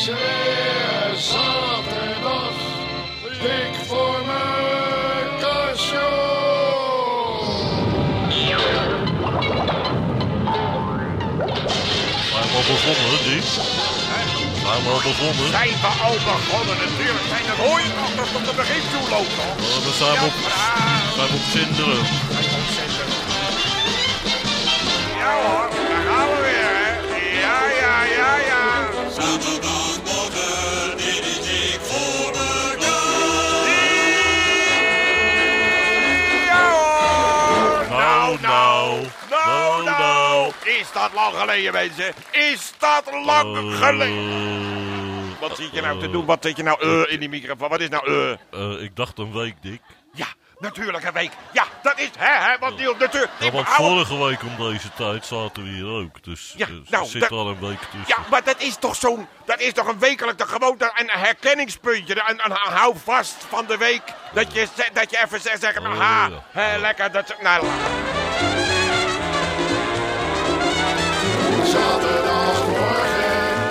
weer zaterdag. Dik voor mijn kastje. Zijn we al begonnen, Dick? Zijn we al begonnen? Zijn we al begonnen? Natuurlijk zijn er hooiachters tot de begin toe lopen. Eh, dan zijn we op, zijn we op zinderen. Ja hoor, daar gaan we weer, hè. Ja, ja, ja, ja. Ja hoor. Nou, Oh, nou. Nou, nou. Nou, nou. Is dat lang geleden, mensen? Is dat Oh. lang geleden? Eh, Wat zit je nou te doen? Wat zit je nou eh in die microfoon? Wat is nou eh? eh, ik dacht een week, Dick. Ja, natuurlijk een week. Ja, dat is hè, hè, want Niels, natuurlijk. Ja, want vorige week om deze tijd zaten we hier ook. Dus Ja, eh, er nou, zit dat- al een week tussen. Ja, maar dat is toch zo'n, dat is toch een wekelijkse gewoonte en een herkenningspuntje. Een, een, een hou vast van de week. Dat je, ze- dat je even zegt, zeg maar, Oh, ha, ja. hè, lekker, dat ze- nou, laat. Zaterdagmorgen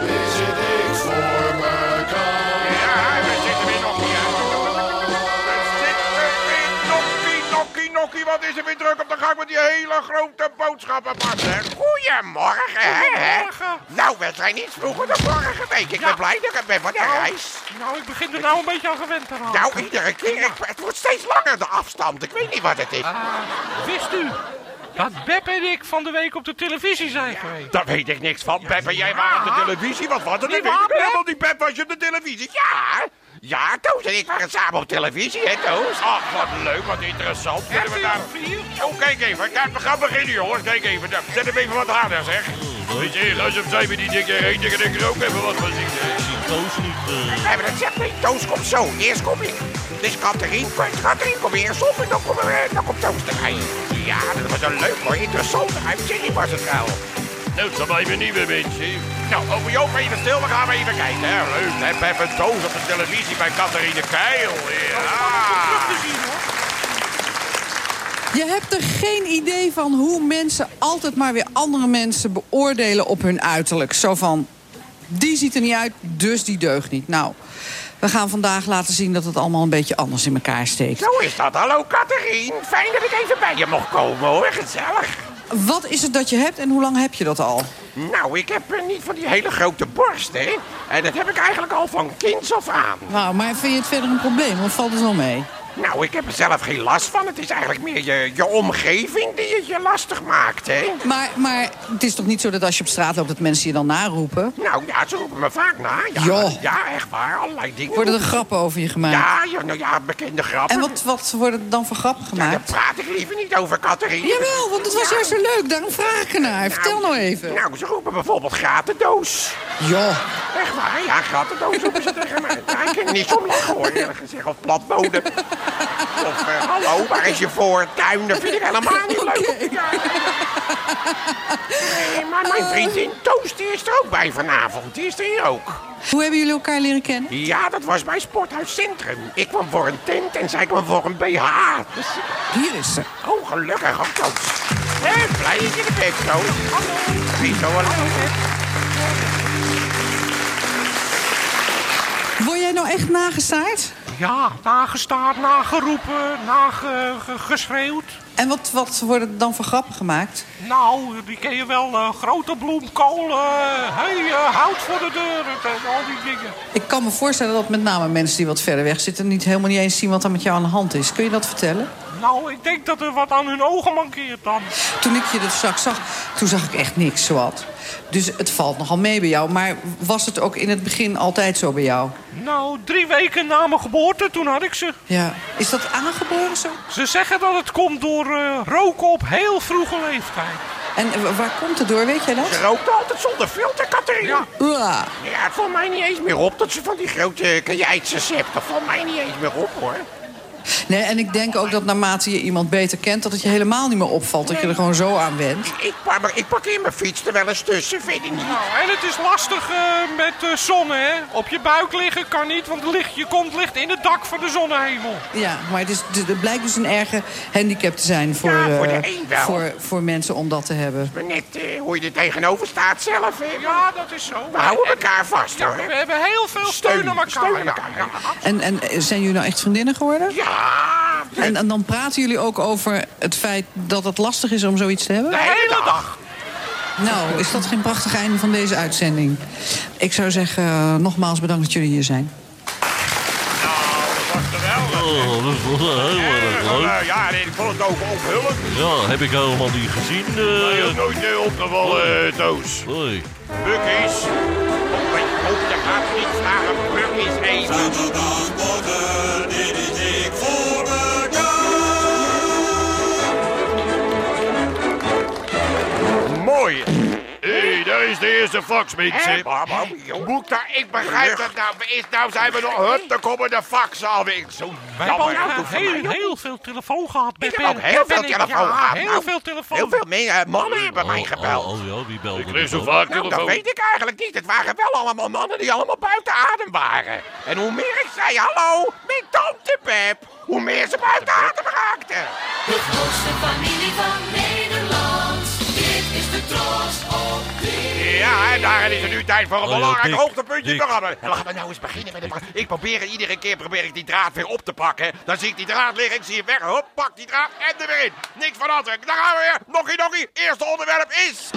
is het dik voor mijn Ja, kastje. we zitten weer nog hier. We zitten weer nokkie, nokkie, nokkie. Wat is er weer druk op de gang met die hele grote boodschappenpas, hè? Goedemorgen, hè, hè? Nou, we zijn iets vroeger dan vorige week. Ik ben blij dat ik ben van de reis. Nou, ik begin er nou een beetje aan gewend te raken. Nou, iedere keer. ik- het wordt steeds langer, de afstand. Ik weet niet wat het is. Wist u dat Beb en ik van de week op de televisie zijn geweest? Daar weet ik niks van. Pep en jij waren op de televisie. Wat was dat? Niet Ik weet waar, niet Pep? helemaal Ah. die Pep was je op de televisie. Ja, ja, Toos en ik waren samen op televisie, hè, Toos? Ach, Ah, wat leuk, wat interessant. Zullen we daar... Oh, kijk even. Kijk, we gaan beginnen, jongens. Kijk even. Nou, Zet hem even wat harder, zeg. Weet je, luister opzij met die dikke reet. Ik denk er ook even wat van zien. Ik zie Toos niet. eh. Nee, maar dat zegt niet. Toos komt zo. Eerst kom ik. Dus Katharine, komt- Katharine komt eerst op en dan komt, eh, dan komt Toos erbij. Ja, dat was een leuk, mooi, interessante uitzending was het wel. Nou, dan blijven nieuwe mensen. Nou, over jou ben even stil, dan gaan we even kijken. Hè. Leuk, hè? We hebben Toos op de televisie bij Katharine Keil. Ja. Je hebt er geen idee van hoe mensen altijd maar weer andere mensen beoordelen op hun uiterlijk. Zo van, die ziet er niet uit, dus die deugt niet. Nou, we gaan vandaag laten zien dat het allemaal een beetje anders in elkaar steekt. Zo is dat. Hallo, Katharine. Fijn dat ik even bij je mocht komen, hoor. Gezellig. Wat is het dat je hebt en hoe lang heb je dat al? Nou, ik heb eh, niet van die hele grote borst, hè. En dat heb ik eigenlijk al van kinds af aan. Nou, maar vind je het verder een probleem? Wat valt het wel mee? Nou, ik heb er zelf geen last van. Het is eigenlijk meer je, je omgeving die het je lastig maakt, hè? Maar, maar het is toch niet zo dat als je op straat loopt dat mensen je dan naroepen? Nou ja, ze roepen me vaak na. Ja, Joh. ja echt waar. Allerlei dingen. Worden er grappen over je gemaakt? Ja, ja, nou ja, bekende grappen. En wat, wat worden er dan voor grappen Ja, daar gemaakt? praat ik liever niet over, Catherine. Jawel, want het was Ja. juist zo leuk. Daarom vraag ik ernaar. Vertel nou even. Nou, ze roepen bijvoorbeeld gratendoos. Joh. Echt waar, ja, gratendoos roepen ze tegen mij. Ja, ik kan er niet om lachen, hoor, eerlijk gezegd. Of platboden. Of, eh, hallo, waar is je voortuin? Dat vind ik helemaal niet leuk. Ja. Nee, maar mijn vriendin Toos, die is er ook bij vanavond. Die is er hier ook. Hoe hebben jullie elkaar leren kennen? Ja, dat was bij Sporthuis Centrum. Ik kwam voor een tent en zij kwam voor een BH. Dus, Hier is ze. oh, gelukkig ook Toos. Hé, blij dat je er bent, Toos. Hallo. Wie zo alleen? Word jij nou echt nagezaaid? Ja, nagestaard, nageroepen, nageschreeuwd. En wat, wat worden er dan voor grappen gemaakt? Nou, die ken je wel. eh, grote bloemkool, eh, hey, eh, hout voor de deur. Het, eh, al die dingen. Ik kan me voorstellen dat met name mensen die wat verder weg zitten... niet helemaal niet eens zien wat er met jou aan de hand is. Kun je dat vertellen? Nou, ik denk dat er wat aan hun ogen mankeert dan. Toen ik je dat straks zag, toen zag ik echt niks, zowat. Dus het valt nogal mee bij jou. Maar was het ook in het begin altijd zo bij jou? Nou, drie weken na mijn geboorte, toen had ik ze. Ja. Is dat aangeboren zo? Ze zeggen dat het komt door eh, roken op heel vroege leeftijd. En w- waar komt het door, weet jij Ze dat? rookt altijd zonder filter, Catherine. Ja. Uah. Ja, het valt mij niet eens meer op dat ze van die grote kajaitses hebt. Dat valt mij niet eens meer op, hoor. Nee, en ik denk ook dat naarmate je iemand beter kent... dat het je helemaal niet meer opvalt. Dat je er gewoon zo aan went. Ik, pa- maar ik parkeer mijn fiets er wel eens tussen, vind ik niet. Nou, en het is lastig eh, met eh zonne, hè. Op je buik liggen kan niet, want het licht, je kont ligt in het dak van de zonnehemel. Ja, maar het, is, het blijkt dus een erge handicap te zijn voor, Ja, voor de eh, een wel. voor, voor mensen om dat te hebben. Maar net eh, hoe je er tegenover staat zelf. hè. Ja, dat is zo. We houden elkaar vast, We hoor. hebben heel veel steun aan elkaar. Steun aan elkaar, ja. En, en eh, zijn jullie nou echt vriendinnen geworden? Ja, En, en dan praten jullie ook over het feit dat het lastig is om zoiets te hebben? de hele dag. Nou, is dat geen prachtig einde van deze uitzending? Ik zou zeggen, eh, nogmaals bedankt dat jullie hier zijn. Dat was geweldig. Oh, dat was wel heel erg Erg, leuk. eh, Ja, nee, ik vond het ook ophullend. Ja, heb ik helemaal niet gezien. Hij eh. is nooit eh, opgevallen, eh, Toos. Hoi. Bukkies. Oh, mijn god, dat gaat niet vragen. Bukkies eten. Zaterdagmorgen, dit is dik voor elkaar. Mooi. Hé, daar is de eerste faxmix, Hé, Babo, Boek daar, ik begrijp dat nou. Is, nou zijn we nog... Hup, daar komen de faxen alweer. Zo We hebben jammer. ook eh, heel, heel veel telefoon gehad. bij Ik Ben. heb ook heel Ben veel ik- telefoon ja, gehad. heel nou. veel telefoon. Heel veel meer, eh, mannen hebben mij gebeld. Oh, oh, ja, wie belde? kreeg zo dan? vaak Nou, dat weet ik eigenlijk niet. Het waren wel allemaal mannen die allemaal buiten adem waren. En hoe meer ik zei hallo, mijn tante Pep, hoe meer ze buiten adem raakten. De grootste familie van Nederland. Dit is de Tros op drie. Ja, en daarin is het nu tijd voor een Oh ja, belangrijk Dick, hoogtepuntje in Dick. het programma. En Laten we nou eens beginnen met het Ik probeer iedere keer probeer ik die draad weer op te pakken. Dan zie ik die draad liggen, ik zie hem weg. Hop, pak die draad en er weer in. Niks van achter. Daar gaan we weer. Noggie, noggie. Eerste onderwerp is...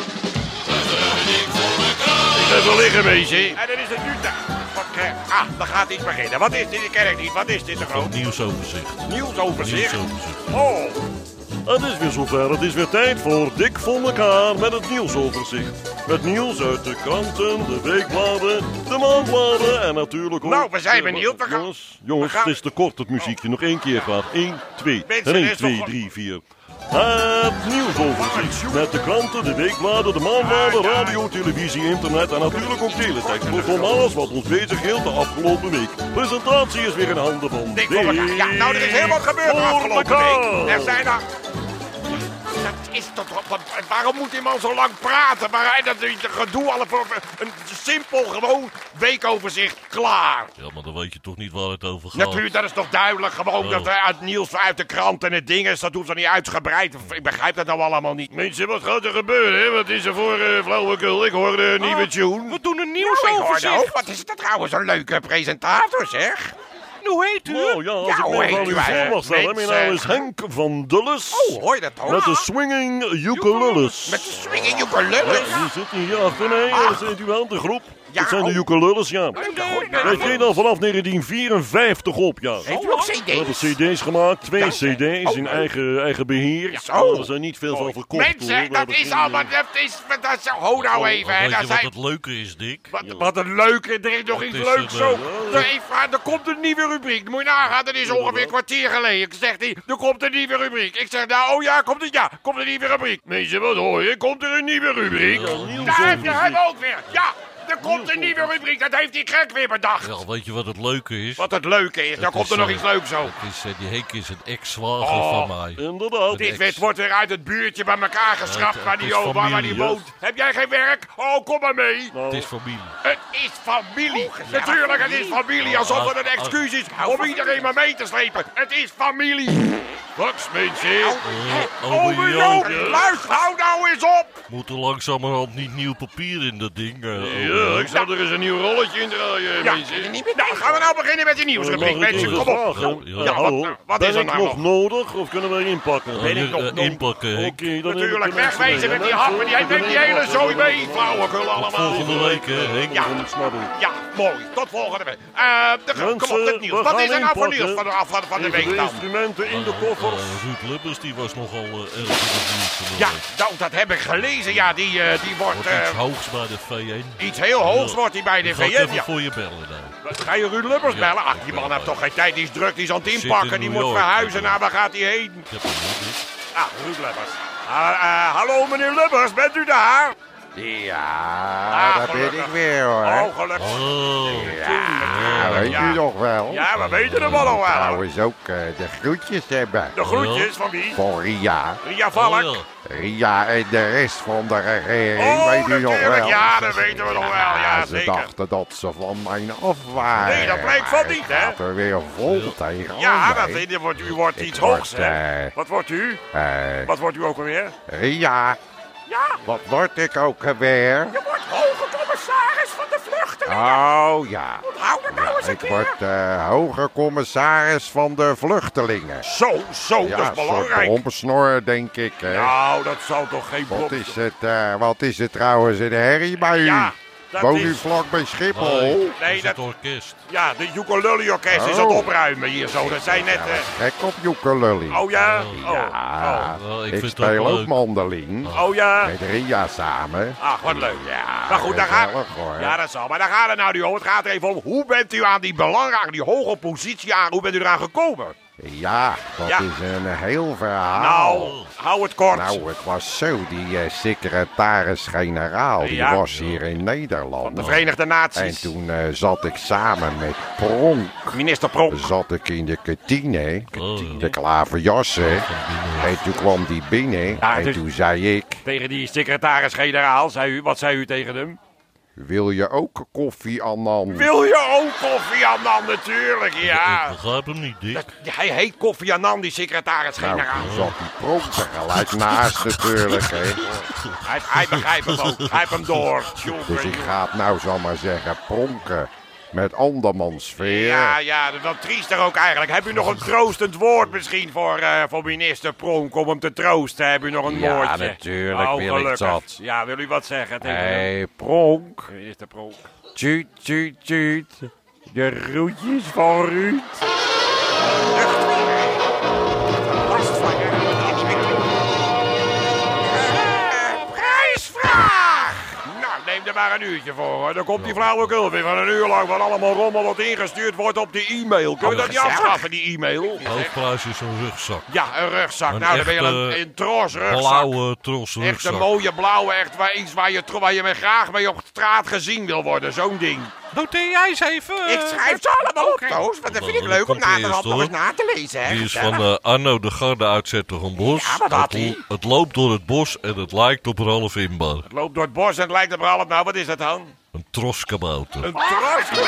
Ik heb wel liggen, meisje. En dan is het nu tijd. Wat krijg- Ah, dan gaat iets beginnen. Wat is dit? Ik ken het niet. Wat is dit? Een groot Nieuwsoverzicht. nieuwsoverzicht. Nieuwsoverzicht. Oh, Het is weer zover. Het is weer tijd voor Dik voor elkaar met het nieuwsoverzicht. Met nieuws uit de kranten, de weekbladen, de maandbladen en natuurlijk ook... Nou, we zijn benieuwd. We gaan- Jongens, jongens we gaan- het is te kort het muziekje. Nog één keer graag. 1, 2, Mensen, en er 1, is 2, nog- 3, 4. Het nieuwsoverzicht met de kranten, de weekbladen, de maandbladen, Ah, ja. radio, televisie, internet en natuurlijk ook teletext. Kortom, alles wat ons bezighield de afgelopen week. Presentatie is weer in handen van dik voor elkaar. Ja, nou, er is helemaal gebeurd de Voor afgelopen elkaar. week. Er zijn er... Dat is toch... wat- Waarom moet die man zo lang praten? Maar dat is een gedoe alle voor een simpel, gewoon weekoverzicht. Klaar. Ja, maar dan weet je toch niet waar het over gaat. Natuurlijk, dat is toch duidelijk. Oh. Gewoon dat er uit nieuws uit de krant en het ding is. Dat hoeft dan niet uitgebreid. Ik begrijp dat nou allemaal niet. Mensen, wat gaat er gebeuren, hè? Wat is er voor eh, flauwekul? Ik hoor de Oh. nieuwe tune. We doen een Nou, ik hoorde nieuwsoverzicht. ook. Wat is dat trouwens een leuke presentator, zeg. Hoe heet u? Oh ja, als Ja, ik hoe me heet wel u u voor eigenlijk, mag stellen. Mijn naam is mensen? Henk van Dulles. eh. Oh, hoor je dat ook? Met de swinging ukuleles. Met de swinging Ja, ukuleles. die zitten hier achter mij. Dat zijn u wel, de groep. Ja, dat zijn de oh. ukuleles. ukuleles, ja. En, dat eh, hoort ben- Dat ging al vanaf 1954 op, ja. Heeft u ook We hebben cd's? cd's gemaakt, twee Dank je. cd's Oh, in leuk. eigen, eigen beheer. Ja, zo. Maar er zijn niet veel van verkocht. hoor. Mensen, We dat hebben is geen, allemaal... eh, Oh, Dat is, dat is, hou nou even, hè. Dat zijn, leuke is, Dick? wat, wat een leuke... Er is nog iets is leuks een, zo. eh, Er, heeft- er komt een nieuwe rubriek. Moet je nagaan, dat is ongeveer een kwartier geleden. Ik zeg, die, er komt een nieuwe rubriek. Ik zeg, nou, oh ja, komt het, ja. Komt een nieuwe rubriek. Mensen, wat hoor je? Komt er een nieuwe rubriek? Daar heb je hem ook weer. Ja, er komt een nieuwe rubriek. Dat heeft die gek weer bedacht. Ja, weet je wat het leuke is? Wat het leuke is, daar komt er nog iets leuks zo. Het is, eh, die Henk is een ex-zwager Oh, van mij. Inderdaad. Dit wet wordt weer uit het buurtje bij elkaar geschrapt het- waar het die, is o- waar, waar die familie, woont. Heb jij geen werk? Oh, kom maar mee. Het is familie. Het is familie. Natuurlijk, het is familie. Alsof Oh, het een excuus is om iedereen maar mee te slepen. Het is familie. Eh, Wat mensen? Eh, Oh, mijn Joop, luister, hou nou eens op. Moet er langzamerhand niet nieuw papier in dat ding? eh, Ja, ouwe? ik zou er eens een nieuw rolletje in draaien, Ja, Eh, mensen. nou gaan we nou beginnen met die nieuwsrubriek, mensen. Kom op. Ja, Ja, hallo. wat, wat ben is er ik nou nog nog? nodig of kunnen we inpakken? Eh, ik nog eh, dom? inpakken, Oké, Henk. dan Natuurlijk, neem ik de wegwezen mensen met mee. die happen. Die neemt die hele zooi mee. Flauwekul allemaal. Volgende week, hè, Henk. Ja. Ik snap het. Ja, mooi. Tot volgende week. Eh, de, kom op, het Mensen, nieuws. we Wat gaan is er nou voor inpakken. nieuws van de, van, van de Even week de dan? instrumenten in de Eh, koffers. eh, Ruud Lubbers, die was nogal eh, erg in het nieuws van de Ja, week. nou, dat heb ik gelezen. Ja, die, eh, die wordt... Wordt eh, iets hoogs bij de VN. iets heel hoogs wordt hij bij de Ik ga ik VN. even Ja. voor je bellen, nou. Ga je Ruud Lubbers Ja, bellen? Ach, die ik ben man erbij. heeft toch geen tijd. Die is druk, die is aan het Zit in inpakken. Die New moet York. verhuizen. Nou, waar gaat hij heen? Ik heb een nieuw Dick. Ah, Ruud Lubbers. Ah, eh, hallo, meneer Lubbers. Bent u daar? Ja, Ah, daar ben gelukkig. ik weer hoor. Oh, gelukkig. Oh, Ja, Ja, weet ja. u nog wel. Ja, we weten hem allemaal wel. hoor. Trouwens ook eh, de groetjes hebben. De groetjes van wie? Voor Ria. Ria Oh, Valk. ja. Ria en de rest van de regering, Oh, weet u nog natuurlijk. wel. Ja, dat weten we nog wel. Ja, ze zeker. dachten dat ze van mijn af waren. Nee, dat blijkt van Maar niet, het hè? Gaat er weer vol tegen. Ja, dat weet je. wordt- U wordt Oh, Ik iets word, hoogs, hè? eh, Wat wordt u? Wat wordt u ook alweer? Ria, Ja, wat word ik ook alweer? je wordt hoge commissaris van de vluchtelingen. Oh ja. Hou dat nou eens een Ik keer. word eh hoger commissaris van de vluchtelingen. Zo, zo, dat Ja, is een soort belangrijk. rompensnor, denk ik. Hè. Nou, dat zal toch geen Wat blok is het, eh, wat is het trouwens in de herrie bij u? Ja, dat Woon u is- vlak bij Schiphol? Nee, Nee, dat is het dat- orkest. Ja, de Joekolulli Orkest is aan het Oh. opruimen hier zo. Dat zijn net... eh, Gek op joekelully. Oh ja? ja, Oh, Wel, ik ik, vind het speel ook ook leuk. mandoline. oh. oh ja. Met Ria samen. Ach, wat leuk. Ja, Maar goed, daar gaat... gezellig, hoor. Ja, dat zal. Maar daar gaat het nou niet om. Het gaat er even om, hoe bent u aan die belangrijke, die hoge positie aan... Hoe bent u eraan gekomen? Ja, dat Ja. is een heel verhaal. Nou, hou het kort. Nou, het was zo, die eh, secretaris-generaal, die Ja. was hier in Nederland. de Verenigde En Naties. toen eh, zat ik samen met Pronk, Minister Pronk. zat ik in de kantine, Kantine. de klaverjassen. En toen kwam die binnen Ja, en dus- toen zei ik, Tegen die secretaris-generaal, zei u, wat zei u tegen hem? wil je ook koffie, Annan? Wil je ook koffie, Annan? Natuurlijk, Ik ja. begrijp hem niet, Dick. Hij heet koffie Annan, die Nou, secretaris-generaal. toen zat die Pronk er gelijk naast natuurlijk, hè. Hij, hij begrijpt hem ook. Hij heeft hem door. Dus Jongen, ik jongen. ga het nou, zal maar zeggen, pronken met andermans veer. Ja, ja, dat is wel triester ook eigenlijk. Heb u nog een troostend woord misschien voor, eh, voor minister Pronk om hem te troosten? Heb u nog een Ja, woordje? Oh, natuurlijk wil ik gelukkig. dat. Ja, wil u wat zeggen tegen hem? Hey, pronk. Minister Pronk. Tjuut, tjuut, tjuut. De groetjes van Ruud. Prijsvraag! Nou, neem er maar een uurtje voor hoor. Dan komt die flauwekul weer van een uur lang van allemaal rommel wat ingestuurd wordt op de e-mail. Oh, Kunnen we dat niet afschaffen, die e-mail? Hoofdprijs is een rugzak. Ja, een rugzak. Oh. Een nou, dan ben je echte een, een tros rugzak. Blauwe Echt een trosrugzak. mooie blauwe, echt waar, iets waar je, tro- waar je mee graag mee op straat gezien wil worden. Zo'n ding. Noteer jij eens even. Ik eh, schrijf ze allemaal op, Oké. Toos, want dat vind ik Nou, leuk om komt na de eerst, hand nog hoor. eens na te lezen. Hè? Die is van Gezellig. eh, Arno de Garde uit Zettergenbos. Ja, wat had Het hij? l- Het loopt door het bos en het lijkt op Ralf Inbar. Het loopt door het bos en het lijkt op Ralf. Nou, wat is dat dan? Een troskabouter. Een tros. Verzin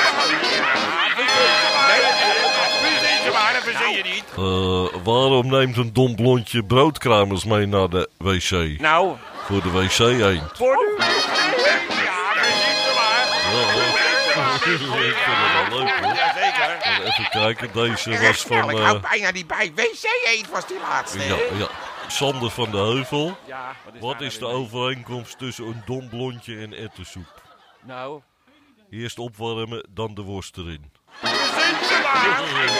je maar, dat verzin je niet. Eh, waarom neemt een dom blondje broodkruimels mee naar de wc? Nou, Voor de wc eend. voor nu. Ja, verzin je maar. Ja, hoor. Ik vind het wel leuk hoor. Jazeker. Even kijken, deze Erg was snel, van ik eh, hou bijna niet bij. WC eend was die laatste. ja, ja. Sander van de Heuvel. Ja, Wat is de overeenkomst tussen een dom blondje en ettensoep? Nou. Eerst opwarmen, dan de worst erin.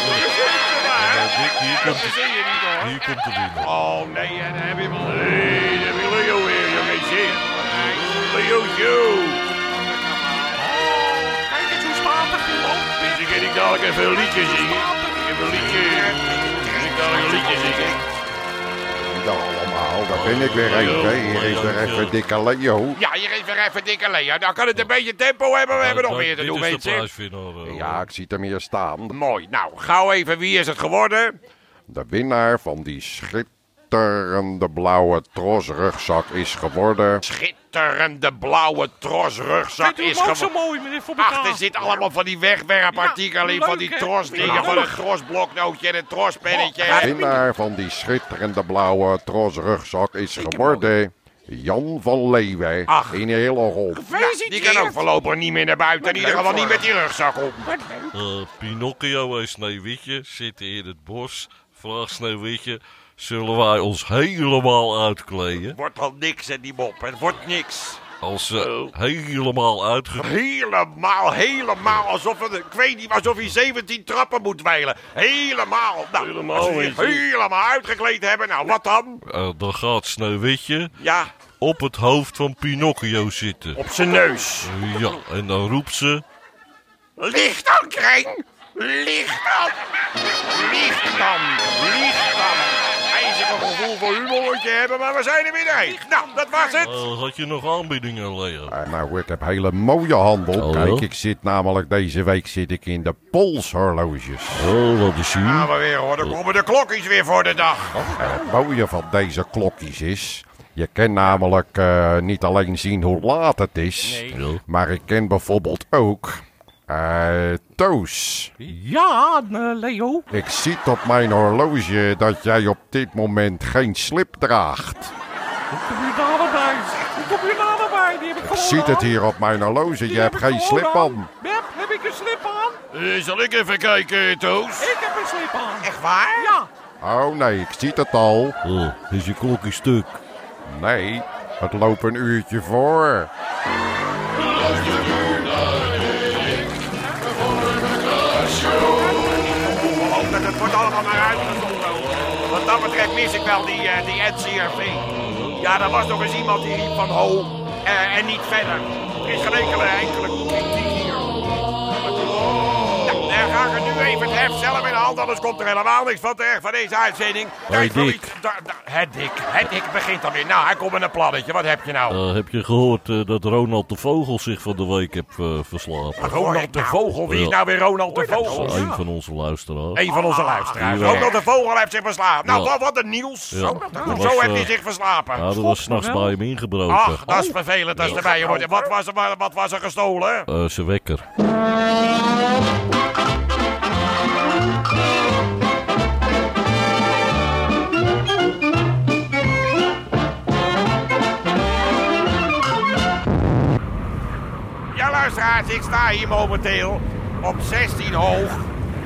Verzin Nou, Dick, hier komt de, je niet hoor. hier komt de winnaar. Oh nee, en heb je wel. Nee, heb je Leo weer, je weet je. Leo, yo. Kijk eens hoe statig die loopt. Dus ik kan ik dadelijk even een liedje zingen. Ik heb een liedje. Kan ik dadelijk een liedje zingen? Dat allemaal, daar ben ik weer Hallo, even. Hier is hallo, er hallo. even dikke Leo. Ja, hier is weer even dikke Leo. Dan kan het een beetje tempo hebben. We hebben nog Nou, meer te doen, Dit is weet de je. prijswinnaar. eh, Ja, ik zie hem hier staan. Mooi. Nou, gauw even. Wie is het geworden? De winnaar van die schitterende blauwe trosrugzak is geworden... Schitterende blauwe tros rugzak Vindt u is hem ook zo geworden. mooi, meneer Voor elkaar? Ach, er zit allemaal van die wegwerpartikelen in, Ja, van die leuk, hè? trosdingen, Ja. van het trosbloknootje en het trospennetje. De winnaar van die schitterende blauwe trosrugzak is geworden... Jan van Leeuwen Ach. in Hillegom. die kan ook voorlopig niet meer naar buiten. In ieder geval niet met die rugzak op. Eh, Pinocchio en Sneeuwwitje zitten in het bos. Vraagt Sneeuwwitje, zullen wij ons helemaal uitkleden? Wordt al niks, hè, die mop. Het wordt niks. Als Oh. ze helemaal uitge... Helemaal, helemaal alsof het, ik weet niet, alsof hij 17 trappen moet dweilen. Helemaal. Nou, Helemaal als we niet. je helemaal uitgekleed hebben, nou wat dan? Eh, dan gaat Sneeuwwitje Ja, op het hoofd van Pinocchio zitten. Eh, op zijn neus. Ja, en dan roept ze... Licht dan, kring! Licht dan! Licht dan! Licht dan! Hij is enige gevoel voor humor wat je hebt, maar we zijn er weer heen. Nou, dat was het. Eh, had je nog aanbiedingen, Leo? Eh, Nou, ik heb hele mooie handel. Oh, Kijk, joh. ik zit namelijk deze week zit ik in de polshorloges. Oh, wat is Gaan hier? we weer hoor, dan komen de klokjes weer voor de dag. En het mooie van deze klokjes is... Je kan namelijk eh, niet alleen zien hoe laat het is... Ja. maar ik ken bijvoorbeeld ook... eh Toos, Ja, eh, Leo. ik zie op mijn horloge dat jij op dit moment geen slip draagt. Hoe kom je daarbij? Hoe kom je daarbij? Die heb ik Ik gewoon zie het aan. hier op mijn horloge, Die eh, je heb hebt ik geen gewoon slip aan. aan. Beb, heb ik een slip aan? Eh, zal ik even kijken, eh, Toos? Ik heb een slip aan. Echt waar? Ja, Oh nee, ik zie het al. Oh, is je klokje stuk? Nee, het loopt een uurtje voor. Ik hoop dat het wordt allemaal naar uitgezonden. Wat dat betreft mis ik wel die, eh die NCRV. Ja, er was nog eens iemand die riep van ho eh, en niet verder. Er is geen enkele, enkele kritiek hier. Nou, dan ga ik er nu even het heft zelf in de hand, anders komt er helemaal niks van terecht van deze uitzending. Tijd voor Dick. iets- da- da- Het dik, het dik begint dan weer. Nou, hij komt met een plannetje, wat heb je nou? Eh, heb je gehoord eh, dat Ronald de Vogel zich van de week heeft eh, verslapen? Ronald de Vogel, wie is Ja. nou weer Ronald de Vogel? Een van onze luisteraars. Een van onze luisteraars. Ja. Ronald de Vogel heeft zich verslapen. Nou, Ah, Ja. wat- wat een nieuws. Ja. Dat was, Hoezo heeft hij eh, zich verslapen? Ja, er was s'nachts bij hem Ach, ingebroken. dat is vervelend als erbij hoort. En Wat was er, wa- wat was er gestolen? Eh, zijn wekker. Ja, luisteraars, ik sta hier momenteel op 16 hoog.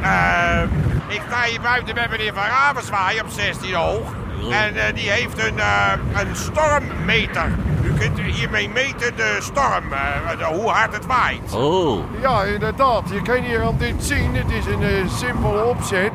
Eh, ik sta hier buiten bij meneer Van Ravenswaai op 16 hoog. En eh, die heeft een, eh, een stormmeter. U kunt hiermee meten de storm, eh, de- hoe hard het waait. Oh, Ja, inderdaad. Je kan hier aan dit zien. Het is een eh, simpele opzet.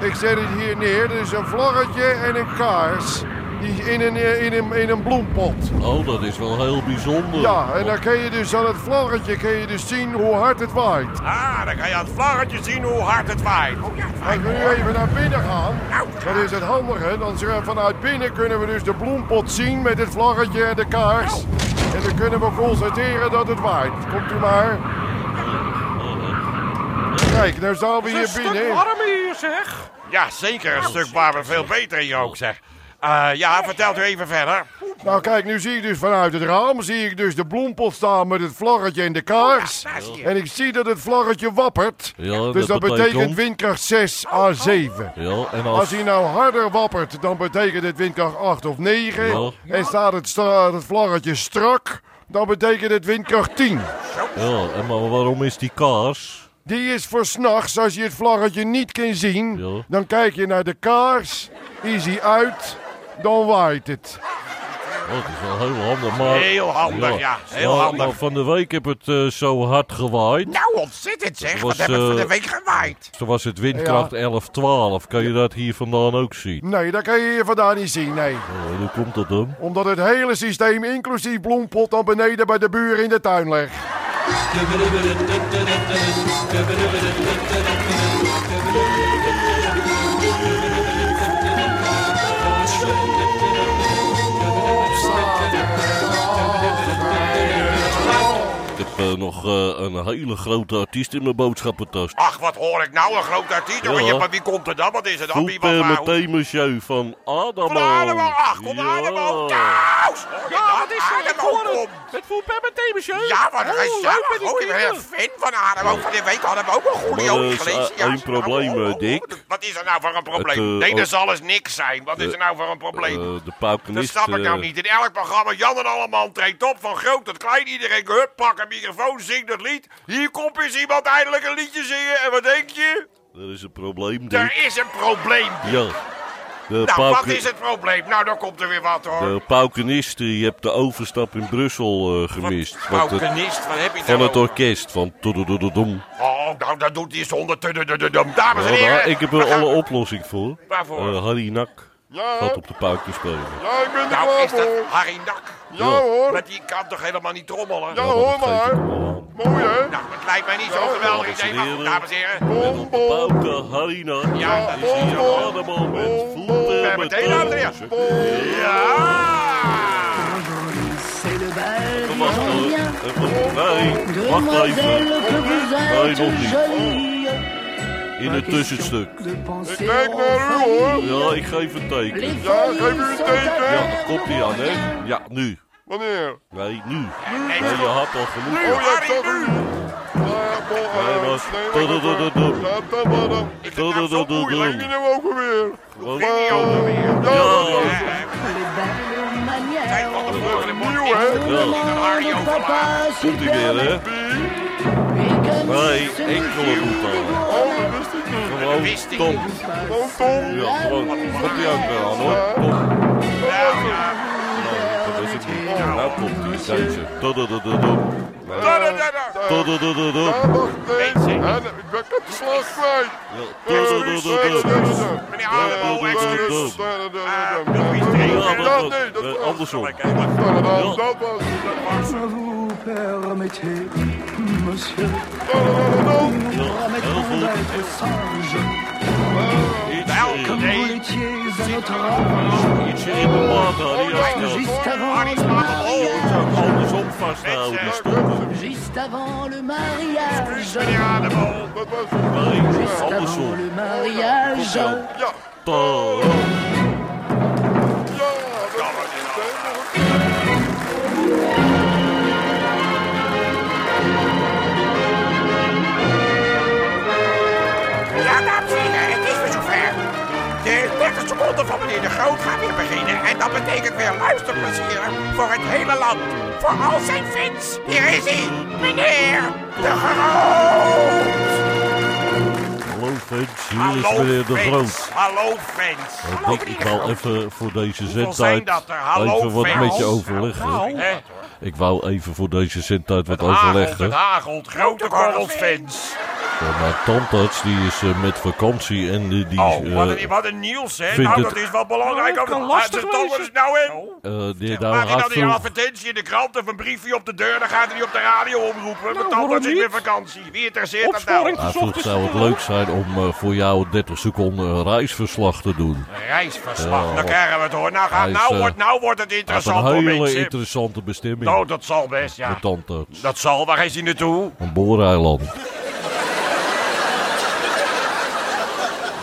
Ik zet het hier neer. Er is een vlaggetje en een kaars. Die in een, eh, in een, in een bloempot. oh, dat is wel heel bijzonder. Ja, en dan kun je dus aan het vlaggetje kun je dus zien hoe hard het waait. Ah, dan kan je aan het vlaggetje zien hoe hard het waait. Oh, ja, het Als waait. we nu even naar binnen gaan, Nou, dan is het handiger. Dan zullen we vanuit binnen kunnen we dus de bloempot zien met het vlaggetje en de kaars. En dan kunnen we constateren dat het waait. Komt u maar. Kijk, nou staan we het hier is een stuk binnen. warm hier, zeg. Ja, zeker. Een stuk warmer. Veel beter hier ook, zeg. Eh, ja, vertelt u even verder. Nou kijk, nu zie ik dus vanuit het raam zie ik dus de bloempot staan met het vlaggetje en de kaars. Oh, Daar zie je. En ik zie dat het vlaggetje wappert. Ja, dat dus dat betekent, betekent windkracht 6 à 7. Ja, en Als als... hij nou harder wappert, dan betekent het windkracht 8 of 9. Ja. En staat het, stra- het vlaggetje strak, dan betekent het windkracht 10. Ja, en maar waarom is die kaars? Die is voor s'nachts, als je het vlaggetje niet kan zien, Ja. dan kijk je naar de kaars, is hij uit, dan waait het. Oh, dat is wel heel handig, maar... Heel handig, ja. Heel maar- handig. maar van de week heb het eh, zo hard gewaaid. Nou, ontzettend zeg. Wat was, hebben we van eh, de week gewaaid? Toen was het windkracht 11, 12. Kan je dat hier vandaan ook zien? Nee, dat kan je hier vandaan niet zien, nee. Oh, hoe komt dat dan? Omdat het hele systeem, inclusief bloempot, dan beneden bij de buren in de tuin ligt. Ik heb eh, nog eh, een hele grote artiest in mijn boodschappentas. Ach, wat hoor ik nou? Een groot artikel. Ja. Ja, maar wie komt er dan? Wat is het dan? Wie Goed wat eh, waar? hoe- meteen monsieur van Adamo. Van Ademo. Ach, kom Ja. Eh, Ademo. Thuis. Hoor je Ja, dat? wat is er met Ademo voor komt. Met voetbal meteen, monsieur. Ja, wat een Oh, leuk met gezellig. die Hoor je wel, kinderen. fan van Ademo. Van de week hadden we ook een goede Maar er over is, gelezen. oh, eh, één probleem, eh, Dick. Wat is er nou voor een probleem? Het, eh, nee, dat ook- zal eens niks zijn. Wat is er nou voor een probleem? Eh, de Dat paukenist. snap ik nou eh, niet. In elk programma, Jan en Alleman treedt op, van groot tot klein. Iedereen, hup, pak een microfoon, zing dat lied. Hier komt eens iemand eindelijk een liedje zingen. En wat denk je? Er is een probleem, Dick. Er is een probleem. Ja. De, Nou, wat pauken- is het probleem? Nou, dan komt er weer wat, hoor. de paukenist, eh, je hebt de overstap in Brussel eh, gemist. Want het- Paukenist, wat heb je van nou? het orkest, van toedoedoedoem. Oh, nou, dat doet hij zonder... tududududum. Dames en Ja, maar heren. ik heb we er gaan- alle oplossing voor. Waarvoor? Eh, Harry Nak gaat op de pauken spelen. Ja, ik ben er Nou, klaar is dat voor. Harry Nak? Ja hoor, Maar die kan toch helemaal niet trommelen? ja hoor dat geef ik maar. hem al aan. Mooi hè? Nou, het lijkt lijkt mij niet zo'n geweldig idee, maar goed, dames en heren. Bom, bom. Pauke Harina Ja, is hier bom, allemaal met bom, We voeten, hebben met het een aan tozen. de Ja! Dat was het. Dat was het. Nee, wacht even. Nee, nog niet. In het tussenstuk. Kijk naar u hoor. Ja, ik geef een teken. Ja, geef u een teken. Ja, daar komt hij aan, hè? Ja, nu. Wanneer? Nee, nu. Nee, Nee, je stop. had al genoeg. Nu, Harry, dat nu! Nou was- Tududududum. Ik vind het nou zo Tududududum. moeilijk. hem ook weer. Wat? Ging hij ook alweer? Ja, dat was het. Eh, Kijk wat de volgende Nieuw, hè? wordt. Een Harry overlaat. Komt hij weer, hè? Nee, enkele voet aan. Oh, dat wist ik niet. Gewoon Wist ik. Oh, Tom. Tom. Ja, gewoon. Komt hij ook weer aan, hoor. Tom. Nou, ja. Nee, dat is het niet. Nou komt hij, deze. Tududududum. Nee. Da, da, da, da. Tududududum. Ja, wacht Weet eens. je. Ja, Ik ben het slag kwijt. Ja, tududududum. Meneer Meneer Harrebo, excuus. Eh, nog iets drinken? Ja, Dat dat- niet, dat dat- was- andersom. Dat was het. Ja, heel goed. Ietsje Welke in- nee. Ietsje in de maat, Oh, Harry. als ja, je- Harry slaat hem over. Zou ik Andersom vasthouden, die stomme. Juste avant le mariage, Meneer Harrebo. Dat was het. Nee, avant andersom. le mariage, Zo. Ja. Ta- Ja, dat was het. Ja, dames en heren, het is weer zover. De 30 seconden van meneer De Groot gaat weer beginnen. En dat betekent weer luisterplezier voor het hele land. Voor al zijn fans. Hier is hij, meneer De Groot. Hallo fans, hier is Hallo meneer De fans. Groot. Hallo fans. Hallo Ik denk, ik meneer wou De Groot. even voor deze Hoeveel zijn zendtijd dat er? Hallo even wat fans. met je overleggen. Eh, Ik wou even voor deze zendtijd wat Hagelt, overleggen. het hagelt. Grote Grote korrels korrels fans. Eh, Maar mijn tandarts die is eh, met vakantie en die, die, Oh, wat eh, een, wat een nieuws, hè? vindt Nou, het- dat is wel belangrijk. Nou, Als dat kan lastig de tanden wezen. is nou in. eh, die Maak daar je dan gaat die nou veel advertentie in de krant of een briefje op de deur, dan gaat hij op de radio omroepen. Mijn Nou, waarom tandarts is weer niet? vakantie. Wie interesseert dat nou? Opsporing. Hij vroeg, zou het leuk zijn om eh, voor jou 30 seconden reisverslag te doen? Reisverslag, Ja, dan krijgen we het hoor. Nou, gaat, hij is, nou, eh, wordt, nou wordt het Hij heeft interessant een hoor, hele mensen. interessante bestemming, nou, dat zal best, ja. de tandarts. Dat zal, waar is hij naartoe? Een booreiland.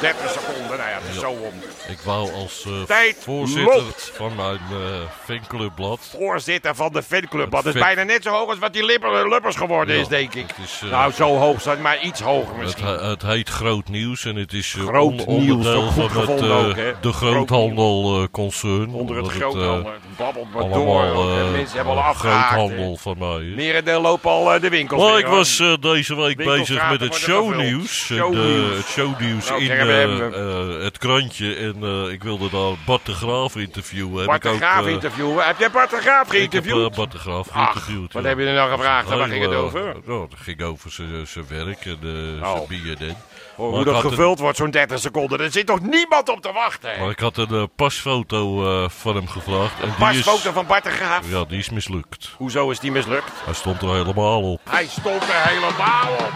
30 seconden, nou ja, het is zo om. Ik wou als eh, Tijd voorzitter loopt. van mijn eh fanclubblad... Voorzitter van de fanclub, dat is Het fan- bijna net zo hoog als wat die Lipper- Luppers geworden is, denk ik. Het, is, eh, Nou, zo hoog, staat, maar iets hoger het, misschien. he- het heet Groot Nieuws en het is eh, Groot on- Nieuws, onderdeel ook goed van het, gevonden eh, ook, hè? de groothandelconcern. Onder het omdat groothandel. eh, Het babbelt maar door. allemaal hoor. eh, De mensen hebben al eh, afgehaakt. hè. groothandel van mij is. Merendeel lopen al eh, de winkels Maar weer, ik hoor. was eh, deze week Winkelstraten bezig met het worden gevuld. shownieuws. En, Shownieuws. eh, Het shownieuws Nou, in zeggen we eh, hem, eh, het krantje. En eh, ik wilde daar Bart de Graaf interviewen. Heb Bart ik de ook, Graaf eh, interviewen. Heb jij Bart de Graaf Ik heb geïnterviewd? Oh, eh, Bart de Graaf Ach, geïnterviewd. wat ja. heb je er nou gevraagd? En Heel, waar ging het eh, over? Nou, het ging over zijn- zijn werk en eh, Oh. zijn BNN. Maar Hoe ik dat had een- gevuld wordt, zo'n 30 seconden. Er zit toch niemand op te wachten? Maar hè? ik had een eh, pasfoto eh, van hem gevraagd. En die is, Pasfoto van Bart de Graaf. Ja, die is mislukt. Hoezo is die mislukt? Hij stond er helemaal op. Hij stond er helemaal op.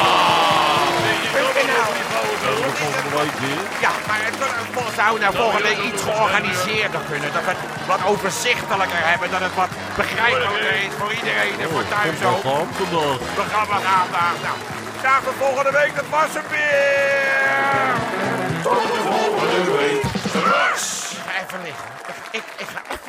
Ah, wat is nou? Wat is het? Ja, maar het kon- zou nou volgende week iets georganiseerder kunnen. Dat we het wat overzichtelijker hebben. Dat het wat begrijpelijker is voor iedereen en voor thuis ook. Kom vandaag. We gaan, we gaan daar. Nou, graag tot volgende week. Dat was hem weer. Tot de volgende week. Rust. Even liggen. Ik, ik ga even